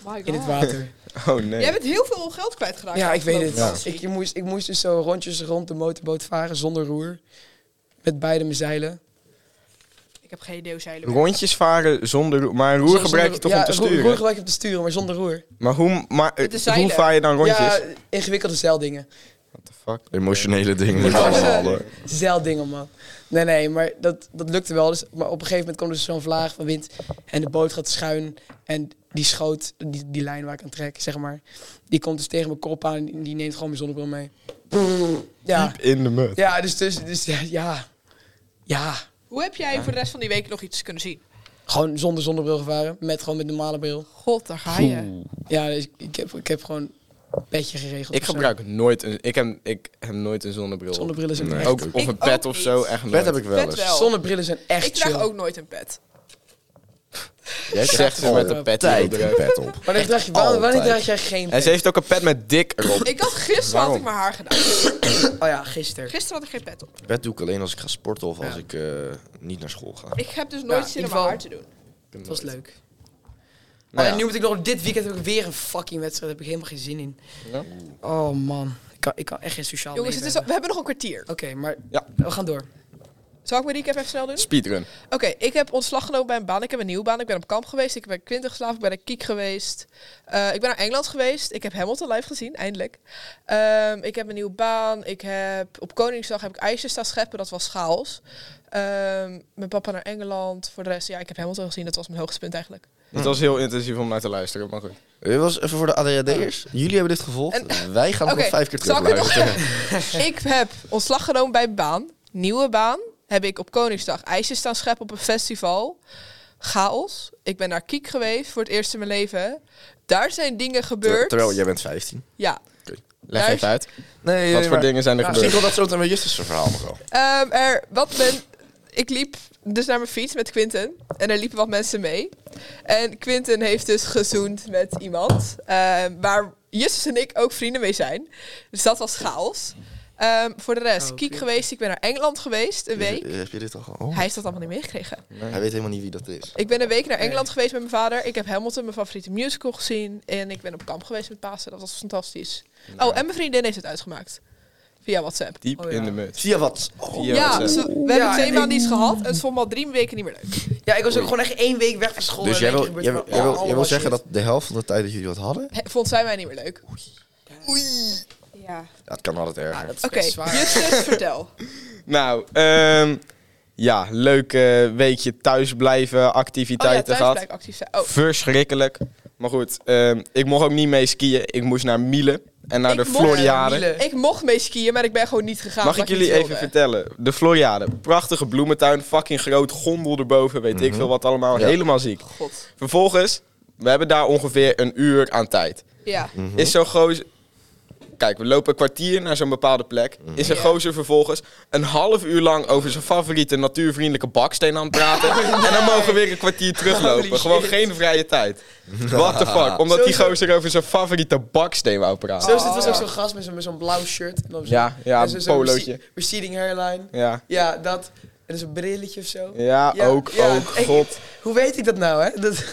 My god.
In het water.
Oh
Jij
nee.
bent heel veel geld kwijtgeraakt.
Ja, ik weet het.
afgelopen
Ik,
vakantie.
je moest, ik moest dus zo rondjes rond de motorboot varen zonder roer. Met beide mijn zeilen.
Ik heb geen idee hoe zeilen werken.
Rondjes varen zonder roer. Maar een roer
Zonder-
gebruik je toch
ja,
om te
roer- Roer
sturen?
gebruik je om te sturen, maar zonder roer.
Maar hoe, maar, eh,
Het is zeilen.
hoe vaar je dan rondjes?
Ja, ingewikkelde zeildingen.
What the fuck?
Emotionele dingen.
Ja.
eh,
allemaal, hoor.
Zeildingen, man. Nee, nee, maar dat, dat lukte wel. Dus, maar op een gegeven moment kwam dus zo'n vlaag van wind. En de boot gaat schuin. En die schoot, die, die lijn waar ik aan trek, zeg maar. Die komt dus tegen mijn kop aan. En die neemt gewoon mijn zonnebril mee. Ja,
In de mut.
ja dus, dus, dus ja, ja. Ja,
Hoe heb jij voor de rest van die week nog iets kunnen zien?
gewoon zonder zonnebril gevaren. Met gewoon met normale bril.
God, daar ga je.
Ja, dus ik, heb, ik heb gewoon een petje geregeld.
Ik
of zo.
gebruik nooit een, ik heb, ik heb nooit een zonnebril. op.
Zonnebrillen zijn
Nee.
echt...
Ook, of
Ik
een pet
ook
of zo,
niet.
echt nooit.
Pet heb ik wel
Pet
eens.
wel.
Zonnebrillen zijn echt
Ik draag
chill.
ook nooit een pet.
Jij
Zegt ze met een pet
altijd
erop.
een pet op.
Wanneer draag je, wanneer, wanneer
altijd.
draag jij geen
En ze heeft ook een pet met dik erop.
Ik had gisteren had ik mijn haar gedaan.
Oh ja, gisteren.
Gisteren had ik geen pet op.
Pet doe ik alleen als ik ga sporten of als
Ja.
ik eh, niet naar school ga.
Ik heb dus
in
nooit
ieder
zin om mijn
geval-
haar te doen.
Dat was leuk.
Nou
Alleen
ja.
nu moet ik nog dit weekend heb ik weer een fucking wedstrijd. Daar heb ik helemaal geen zin in.
Ja.
Oh man, ik kan, ik kan echt geen sociaal
Jongens, het
leven
is al-
hebben.
we hebben nog een kwartier.
Oké, maar
Ja.
we gaan door.
Zal ik mijn recap even snel doen?
Speedrun.
Oké, ik heb ontslag genomen bij een baan. Ik heb een nieuwe baan. Ik ben op kamp geweest. Ik ben Quinten geslaafd. Ik ben naar Kiek geweest. Eh, ik ben naar Engeland geweest. Ik heb Hamilton live gezien, eindelijk. Ehm, ik heb een nieuwe baan. Ik heb, op Koningsdag heb ik ijsjes staan scheppen. Dat was chaos. Ehm, mijn papa naar Engeland. Voor de rest, ja, ik heb Hamilton gezien. Dat was mijn hoogtepunt eigenlijk.
Het was heel intensief om naar te luisteren, maar goed.
Dit Eh, was even voor de ADHD'ers. Jullie hebben dit gevolgd. Eh, Wij gaan het
Oké,
nog vijf keer
zal
terug
ik het nog (laughs)
luisteren.
ik heb ontslag genomen bij een baan. Nieuwe baan. Heb ik op Koningsdag ijsjes staan scheppen op een festival. Chaos. Ik ben naar Kiek geweest voor het eerst in mijn leven. Daar zijn dingen
Ter-
gebeurd.
terwijl jij bent 15.
Ja.
Leg
Luister.
even uit.
Nee,
Wat voor dingen zijn er
Ik
gebeurd?
wil (laughs) dat zo meteen met Justus zijn verhaal nog wel.
Ehm, er, wat men, ik liep dus naar mijn fiets met Quinten. En er liepen wat mensen mee. En Quinten heeft dus gezoend met iemand. ehm, waar Justus en ik ook vrienden mee zijn. Dus dat was chaos. Ehm, voor de rest,
Oh,
Kiek
oké.
geweest. Ik ben naar Engeland geweest, een week.
Heb je dit al gehoord?
Hij heeft dat allemaal niet meegekregen.
Hij weet helemaal niet wie dat is.
Ik ben een week naar Engeland geweest met mijn vader. Ik heb Hamilton, mijn favoriete musical, gezien. En ik ben op kamp geweest met Pasen. Dat was fantastisch. Oh, en mijn vriendin heeft het uitgemaakt. Via WhatsApp.
Diep
Oh, ja.
in de mut.
Via wat? Oh,
Ja,
Via WhatsApp.
ze- we hebben
Ja,
twee
en
maanden
ik-
iets gehad. En het vond me al drie weken niet meer leuk.
Ja, ik was ook gewoon echt één week weg van school.
Dus
en
jij
in één
wil,
keer
jij wil,
gebeurt
jij
er
wil, jij
allemaal
wil zeggen
shit.
dat de helft van de tijd dat jullie wat hadden?
He- vond zij mij niet meer leuk. Oei. Ja.
Ja, het kan altijd
Ja,
erger.
dat is
Oké,
best zwaar.
Justus, vertel.
(laughs) Nou, ehm, ja, leuk eh, weekje thuisblijven,
Oh ja,
activiteiten
thuis
gehad.
blijkt actief zijn. Oh,
Verschrikkelijk. Maar goed, ehm, ik mocht ook niet mee skiën. Ik moest naar Miele en naar
Ik
de
mocht-
Floriade.
Miele.
ik mocht mee skiën, maar ik ben gewoon niet gegaan.
Mag ik
omdat
jullie
dus
niet
even
wilde.
vertellen? De Floriade, prachtige bloementuin, fucking groot, gondel erboven, weet ik veel wat allemaal.
Ja.
Helemaal ziek.
God.
Vervolgens, we hebben daar ongeveer een uur aan tijd.
Ja.
Is zo'n gozer... Kijk, we lopen een kwartier naar zo'n bepaalde plek. Is een
Ja.
gozer vervolgens een half uur lang over zijn favoriete natuurvriendelijke baksteen aan het praten.
(laughs)
En dan mogen we weer een kwartier
Holy
teruglopen. Gewoon
shit.
geen vrije tijd. What the fuck? Omdat die gozer over zijn favoriete baksteen wou praten.
Zo is dit was
Ah.
ook zo'n gast met zo'n met zo'n blauw shirt. En dan zo-
Ja, ja,
en zo-
een
zo'n
polootje.
recede- Receding hairline.
Ja.
Ja, dat. En zo'n brilletje of zo.
Ja,
Ja,
ook,
ja,
ook.
ik-
God,
Hoe weet ik dat nou, hè? Dat is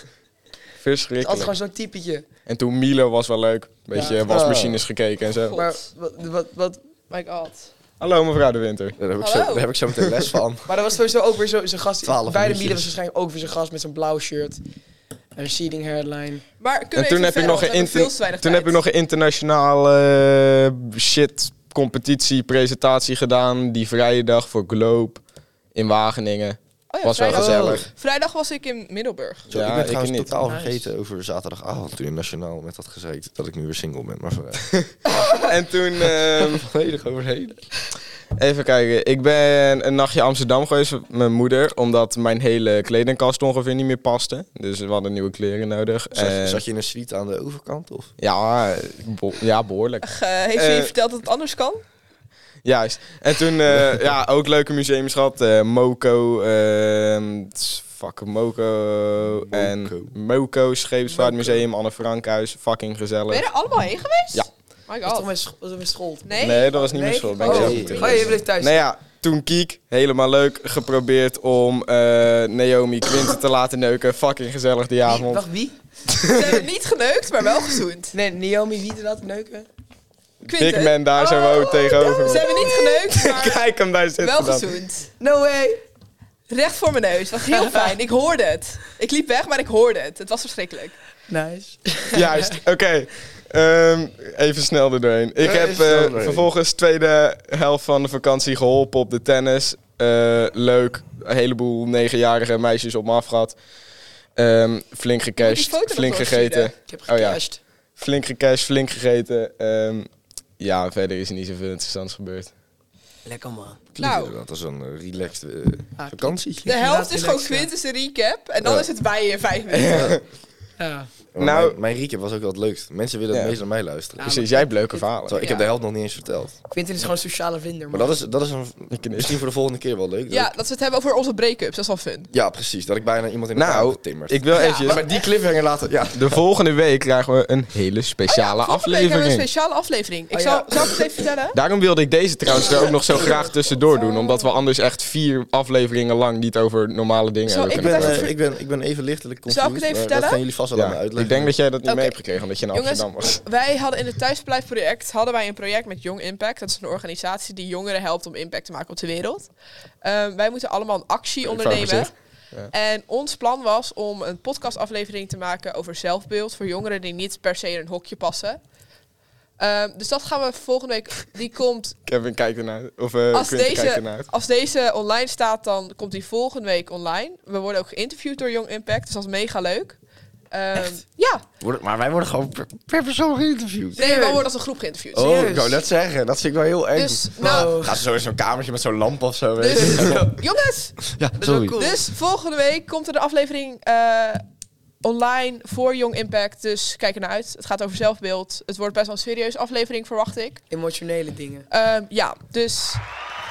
altijd
verschrikkelijk.
gewoon zo'n typetje.
En toen Milo was wel leuk. Beetje
Ja.
wasmachines gekeken en zo.
God.
Maar wat, wat, wat...
Oh My god.
Hallo mevrouw De Winter.
Daar, heb ik zo,
Hallo.
daar heb ik zo meteen les van.
Maar dat was sowieso ook weer zo- zo'n gast.
Twaalf
Bij de
minuutjes.
midden was waarschijnlijk ook weer zo'n gast met zo'n blauw shirt. Een receding hairline.
Maar kunnen
En
we even
toen heb, ik
verder,
nog een
want we hebben
inter-
veel te weinig
toen
tijd.
heb ik nog een internationale eh, shit competitie presentatie gedaan. Die vrije dag voor Globe in Wageningen.
Oh ja,
was wel
vrijdag. (laughs)
gezellig.
Vrijdag was ik in Middelburg.
Zo,
Ja,
ik
ik
ben trouwens
niet.
totaal
Nice.
vergeten over zaterdagavond toen in Nationaal met dat gezeten. Dat ik nu weer single ben.
(laughs)
Maar vooruit.
En toen, ehm,
volledig overheen.
(laughs) even kijken. Ik ben een nachtje Amsterdam geweest met mijn moeder. Omdat mijn hele kledingkast ongeveer niet meer paste. Dus we hadden nieuwe kleren nodig.
Zat, je-
En-
zat je in een suite aan de overkant? Of?
ja, bo- ja, behoorlijk.
Ge- heeft ze
Eh,
je verteld dat het anders kan?
Juist. En toen, (laughs) eh, ja, ook leuke museums gehad. Eh, Moco, ehm fucking Moco. En Moco, Scheepsvaartmuseum, Anne Frankhuis, fucking
Ben je
gezellig.
er allemaal heen geweest?
Ja.
My
Dat is toch
god.
mijn scho- dat is mijn school.
Nee?
Nee, dat was niet
Nee?
meer zo. Ben
Oh,
ik
oh,
zelf
Nee.
natuurlijk.
oh, je bleef thuis.
Nou ja, toen Kiek, helemaal leuk, geprobeerd om eh, Naomi Quinten te laten neuken. Fucking gezellig die
Wie-
avond.
Wacht, wie?
Ze hebben niet geneukt, maar wel gezoend.
Nee, Naomi Wieten dat, neuken.
Quinten.
Big man daar
Oh,
zo ook tegenover.
Oh, Ze
me.
hebben niet
(laughs)
geneukt, maar
Kijk hem daar zitten
wel
dan.
gezoend.
No way!
Recht voor mijn neus. Was
(laughs)
heel fijn. Ik hoorde het. Ik liep weg, maar ik hoorde het. Het was verschrikkelijk.
Nice.
Juist,
(laughs)
oké. Ehm, even snel er doorheen. Ik
Ja,
heb
even snel
eh,
doorheen.
vervolgens tweede helft van de vakantie geholpen op de tennis. Eh, leuk, een heleboel negenjarige meisjes op me af gehad. Ehm, flink
die foto
gecashed,
nog
flink
doorsturen.
gegeten.
Ik heb
Oh ja.
gecashed.
Flink gecashed, flink gegeten. Ehm, ja, verder is er niet zoveel interessants gebeurd.
Lekker man.
Nou. Ah,
Dat is een eh, relaxed eh, vakantie.
De helft is gewoon
relaxed, ja.
Quinten's recap. En dan
Ja.
is het wij in vijf minuten.
Ja.
Maar
Nou-
mijn, mijn recap was ook wel het leukst. Mensen willen
Ja.
het meest naar mij luisteren.
Ja,
Precies, Dus jij hebt leuke
Nou,
Terwijl
verhalen.
ik
Ja.
heb de helft nog niet eens verteld.
Quinten is gewoon een sociale vlinder.
Maar
man.
dat is, dat is een, misschien voor de volgende keer wel leuk. dat
Ja,
ik-
dat we het hebben over onze break-ups. Dat is wel fun.
ja, precies. Dat ik bijna iemand in elkaar heb
Nou,
getimmerd.
ik wil
Ja,
eventjes...
Maar die cliffhanger laten... Ja,
De volgende week krijgen we een hele
Oh
speciale
Oh Volgende week hebben we een
aflevering.
speciale aflevering. Ik
Oh,
zal,
ja.
zal ik het even vertellen?
Daarom wilde ik deze trouwens er ook nog zo graag tussendoor doen. Omdat we anders echt vier afleveringen lang niet over normale dingen
Zal
hebben
ik
ik
kunnen
ben,
dacht
praten.
dat
eh, ik, ben, ik ben even lichtelijk confused.
Zal ik het even
maar
vertellen?
Dat gaan jullie vast wel aan me
Ja,
uitleggen.
ik denk dat jij dat niet
Oké.
mee hebt gekregen, omdat je in
Jongens,
Amsterdam was. (laughs)
Wij hadden in het thuispleitproject hadden wij een project met Young Impact. Dat is een organisatie die jongeren helpt om impact te maken op de wereld. Ehm, wij moeten allemaal een actie
Ik vraag
ondernemen.
me Ja.
En ons plan was om een podcastaflevering te maken over zelfbeeld voor jongeren die niet per se in een hokje passen. Ehm, dus dat gaan we volgende week. Die komt
Kevin kijkt ernaar. Of eh
Als
Quinten kijkt
deze-
ernaar. uit.
Als deze online staat, dan komt die volgende week online. We worden ook geïnterviewd door Young Impact, dus dat is mega leuk. Ehm, Ja,
Worden- maar wij worden gewoon per, per persoon geïnterviewd.
nee, we worden als een groep geïnterviewd.
Oh,
serieus?
ik wou net zeggen. Dat vind ik wel heel eng.
Dus, nou,
Wow.
Gaat ze zo in zo'n kamertje met zo'n lamp of zo? weet
dus,
je?
jongens,
ja,
is wel
sorry.
cool.
dus volgende week komt er de aflevering eh, online voor Young Impact. Dus kijk er naar uit. Het gaat over zelfbeeld. Het wordt best wel een serieuze aflevering, verwacht ik.
Emotionele dingen.
Ehm, ja, dus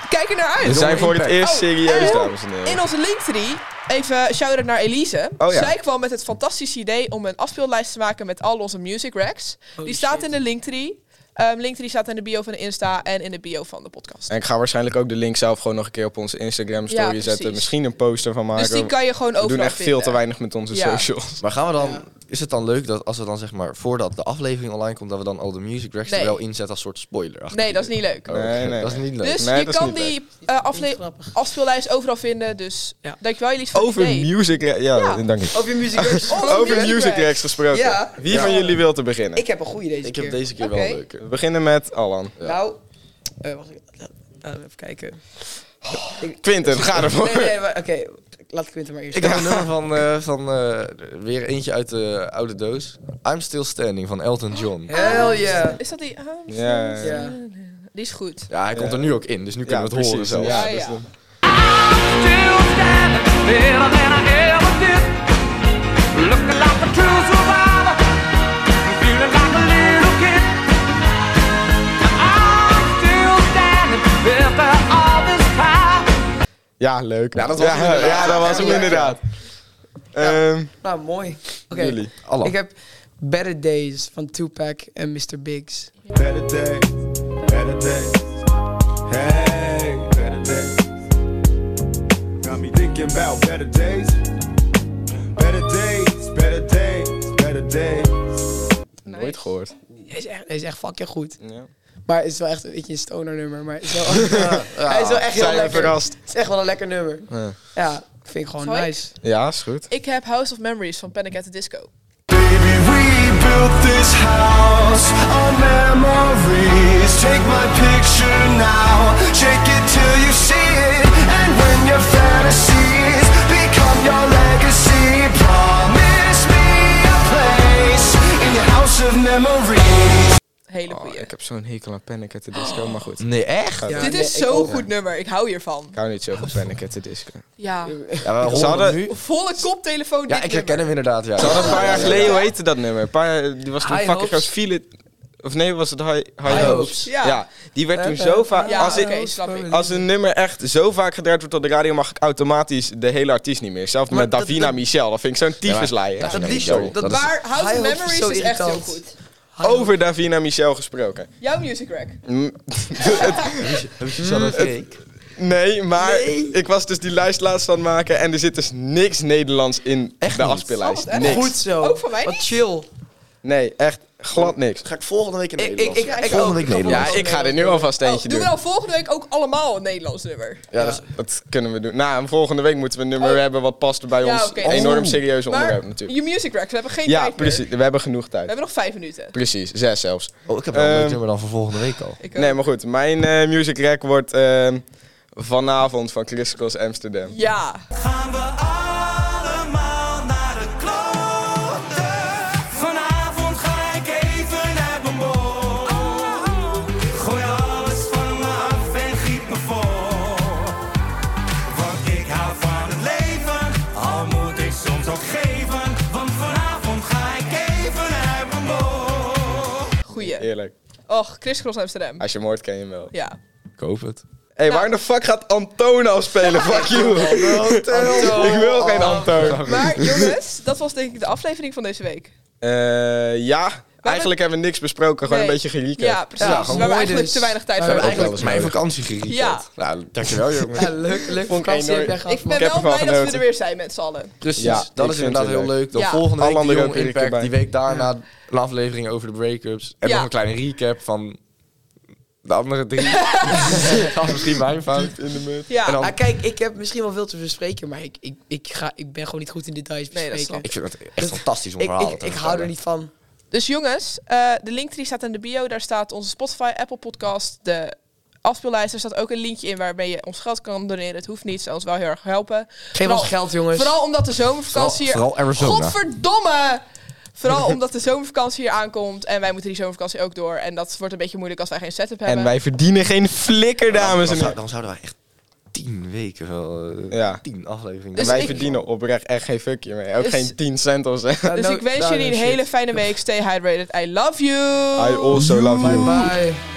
kijk er naar
We
uit.
zijn voor het eerst
Oh,
serieus,
en-
dames en heren.
In onze linktree, even shout-out naar Elise.
Oh ja.
Zij kwam met het fantastische idee om een afspeellijst te maken met al onze music racks.
Holy
die staat
shit.
in de linktree. Ehm linktree staat in de bio van de Insta en in de bio van de podcast.
En ik ga waarschijnlijk ook de link zelf gewoon nog een keer op onze Instagram story
Ja,
zetten.
precies.
Misschien een poster van maken.
dus die kan je gewoon
we
overal
doen echt veel te
vinden.
weinig met onze
Ja.
socials.
Maar gaan we dan...
Ja.
Is het dan leuk dat als we dan zeg maar... Voordat de aflevering online komt... Dat we dan al de music racks
Nee.
er wel inzetten als soort spoiler? achter
Nee,
die
dat is
deur?
niet leuk.
Oh, Nee, nee,
Dat is niet leuk.
Dus
Nee,
je
dat is
kan
niet leuk.
die eh, afle-
Niet grappig.
afspeellijst overal vinden. Dus
Ja.
dankjewel jullie voor
Over
het idee.
music... ra- Ja,
Ja.
dank je.
(laughs) Over muziek.
Over music racks gesproken.
Ja.
Wie
Ja.
van jullie wil te beginnen?
Ik heb een goede deze
Ik
keer.
heb deze keer
Oké.
wel leuker.
We beginnen met Alan.
Ja.
Nou, eh, wacht ik- laat- laat even
(laughs)
kijken. Ik-
Quinten, ga ervoor.
Nee, nee, maar oké. Laat Quinten maar eerst.
Ik heb een nummer van, eh, van eh, weer eentje uit de oude doos. I'm Still Standing van Elton John.
Hell yeah.
Is dat die? ah,
Ja, ja, ja.
Ja.
Die is goed.
Ja, hij komt er nu ook in, dus nu kunnen we het horen
precies.
zelfs.
Ja,
Ja,
dus
ja.
dan-
still standing better than I ever did. Looking like a true survivor, feeling like a little kid. I'm still standing after all this time.
Ja, leuk.
Ja, dat was hem
ja,
inderdaad.
ja, dat was hem
Ja.
inderdaad. Ehm,
Nou, mooi. Oké.
Jullie.
Alla.
Ik heb Better Days van Tupac en Mr. Biggs.
Better days, better days. Hey, better days. Got me thinking about better days. Better days, better days, better days.
Nooit gehoord.
Hij is echt, hij is echt fucking goed.
Ja.
Maar het is wel echt een beetje een stoner nummer. Maar het
(laughs)
is wel, (laughs) hij is wel echt heel
Zijn we
lekker.
verrast?
Het is echt wel een lekker nummer.
Ja.
Ja, vind ik gewoon
Zal ik?
nice.
Ja, is goed.
Ik heb House of Memories van Panic at the Disco.
Baby, we built this house on memories. Take my picture now, shake it till you see it. And when your fantasies become your legacy, promise me a place in your house of memories.
Hele
Oh,
goeie.
ik heb zo'n hekel aan Panic at the Disco, maar goed.
Nee, echt?
Ja.
Dit
nee,
is
ik
zo'n
ook.
goed nummer. Ik hou hiervan.
Ik hou niet zo van Panic at the Disco.
Ja.
Ja, we
Ze
horen
hadden-
hem nu.
Volle koptelefoon. dit
Ja, ik
nummer.
herken hem inderdaad, ja.
Ze hadden een paar jaar geleden, hoe heette dat nummer? Een paar jaar, die was toen
High
fucking
Hopes.
groot. Feel It- Of nee, was het High, high,
High
Hopes?
Hopes.
Ja.
Ja. die werd toen zo vaak...
Ja,
als,
oké,
ik-
snap ik.
als een nummer echt zo vaak gedraaid wordt op de radio, mag ik automatisch de hele artiest niet meer. Zelfs
Maar
met
dat-
Davina
dat-
Michel, dat vind ik zo'n tyfuslijn.
dat is
Nee,
niet
sorry.
zo. Dat is-
Maar House
High
of
Hopes is
Memories
zo
is echt heel
irritant.
goed.
Over Davina Michel gesproken.
Jouw music rack.
Mm,
Heb je zo'n fake?
Nee, maar ik was dus die lijst laatst aan het maken en er zit dus niks Nederlands in de
niet?
afspeellijst.
Oh, wat
niks.
erg.
Goed zo.
Ook van mij
Wat
niet?
chill.
Nee, echt glad niks.
Oh,
Ga ik volgende week in
Ik, ik,
Nederlands?
ik,
Ja,
ik
volgende
ook.
week Nederlands.
Ja, ik ga er nu alvast
Oh,
eentje
doen we
doen.
dan volgende week ook allemaal een Nederlands nummer?
Ja, dat, is- dat kunnen we doen. Nou, volgende week moeten we een nummer
Oh.
hebben wat past bij
Ja,
ons
oké.
enorm
Oh.
serieuze onderwerp
Maar
natuurlijk.
je music racks, we hebben geen
Ja,
tijd meer.
precies. We hebben genoeg
We
tijd.
hebben nog vijf minuten.
Precies, zes zelfs.
Oh, ik heb wel een
Ehm,
leuk nummer dan voor volgende week al.
Ik ook.
Nee, maar goed. Mijn eh, music rack wordt ehm, vanavond van Chris Cross Amsterdam.
Ja.
gaan we allemaal naar de klote. Vanavond ga ik even naar mijn mond. Gooi alles van me af en giet me vol. Want ik hou van het leven, al moet ik soms ook geven. Want vanavond ga
Eerlijk.
Och, crisscross Amsterdam.
Als je moord ken je hem wel.
Ja. Nou.
Ik hoop het.
Hé, hey, waar de fuck gaat Antoon afspelen? Fuck you. (laughs) Ik wil geen Antoon. (laughs)
Maar jongens, dat was denk ik de aflevering van deze week.
Eh, ja, eigenlijk hebben we niks besproken. Gewoon
Nee.
een beetje gelieken.
Ja, precies.
gewoon
we
mooi
hebben eigenlijk
dus.
te weinig tijd
We
voor.
We hebben
ook wel
eigenlijk
eens
mijn
nodig.
vakantie geriet.
Ja.
Nou, dankjewel jongen.
Ja, leuk, leuk
Vond ik
vakantie heb
enorm.
jij gehad.
Ik ben
heb
wel
ervan
blij dat we
genoten.
er weer zijn met z'n allen.
(laughs) Precies,
Ja, ik
dat
vind
is
het
inderdaad
heel
heel
leuk.
leuk. Dan
Ja.
volgende week
Alle
de Young
andere heb ik
Impact,
erbij.
die week daarna een aflevering over de break-ups. En
Ja.
nog een kleine recap van de andere (laughs) drie. dat is misschien mijn fout.
In de mut.
Ja.
En dan-
Ah, kijk, ik heb misschien wel veel te bespreken, maar ik, ik, ik, ga, ik ben gewoon niet goed in details
Nee,
bespreken.
dat snap
Ik vind het echt fantastisch om
ik,
verhalen
ik,
te
ik hou
vertellen.
er niet van.
Dus jongens, eh, de link die staat in de bio. Daar staat onze Spotify, Apple Podcast, de afspeellijst. Er staat ook een linkje in waarmee je ons geld kan doneren. Het hoeft niet, zou ons wel heel erg helpen.
Geef ons geld, jongens.
Vooral omdat de zomervakantie hier...
Vooral- vooral Arizona.
Godverdomme! Vooral omdat de zomervakantie hier aankomt. En wij moeten die zomervakantie ook door. En dat wordt een beetje moeilijk als wij geen setup hebben.
En wij verdienen geen flikker, dames
dan,
en
zou-
heren.
dan zouden wij echt tien weken wel... eh,
Ja.
Tien afleveringen.
Dus
En wij
ik-
verdienen oprecht echt geen fuckje meer. Ook
Dus-
geen 10 cent of zo.
Ja,
Dus
nou-
ik wens
nou,
jullie een
shit.
hele fijne week. Stay hydrated. I love you!
I also love you.
Bye.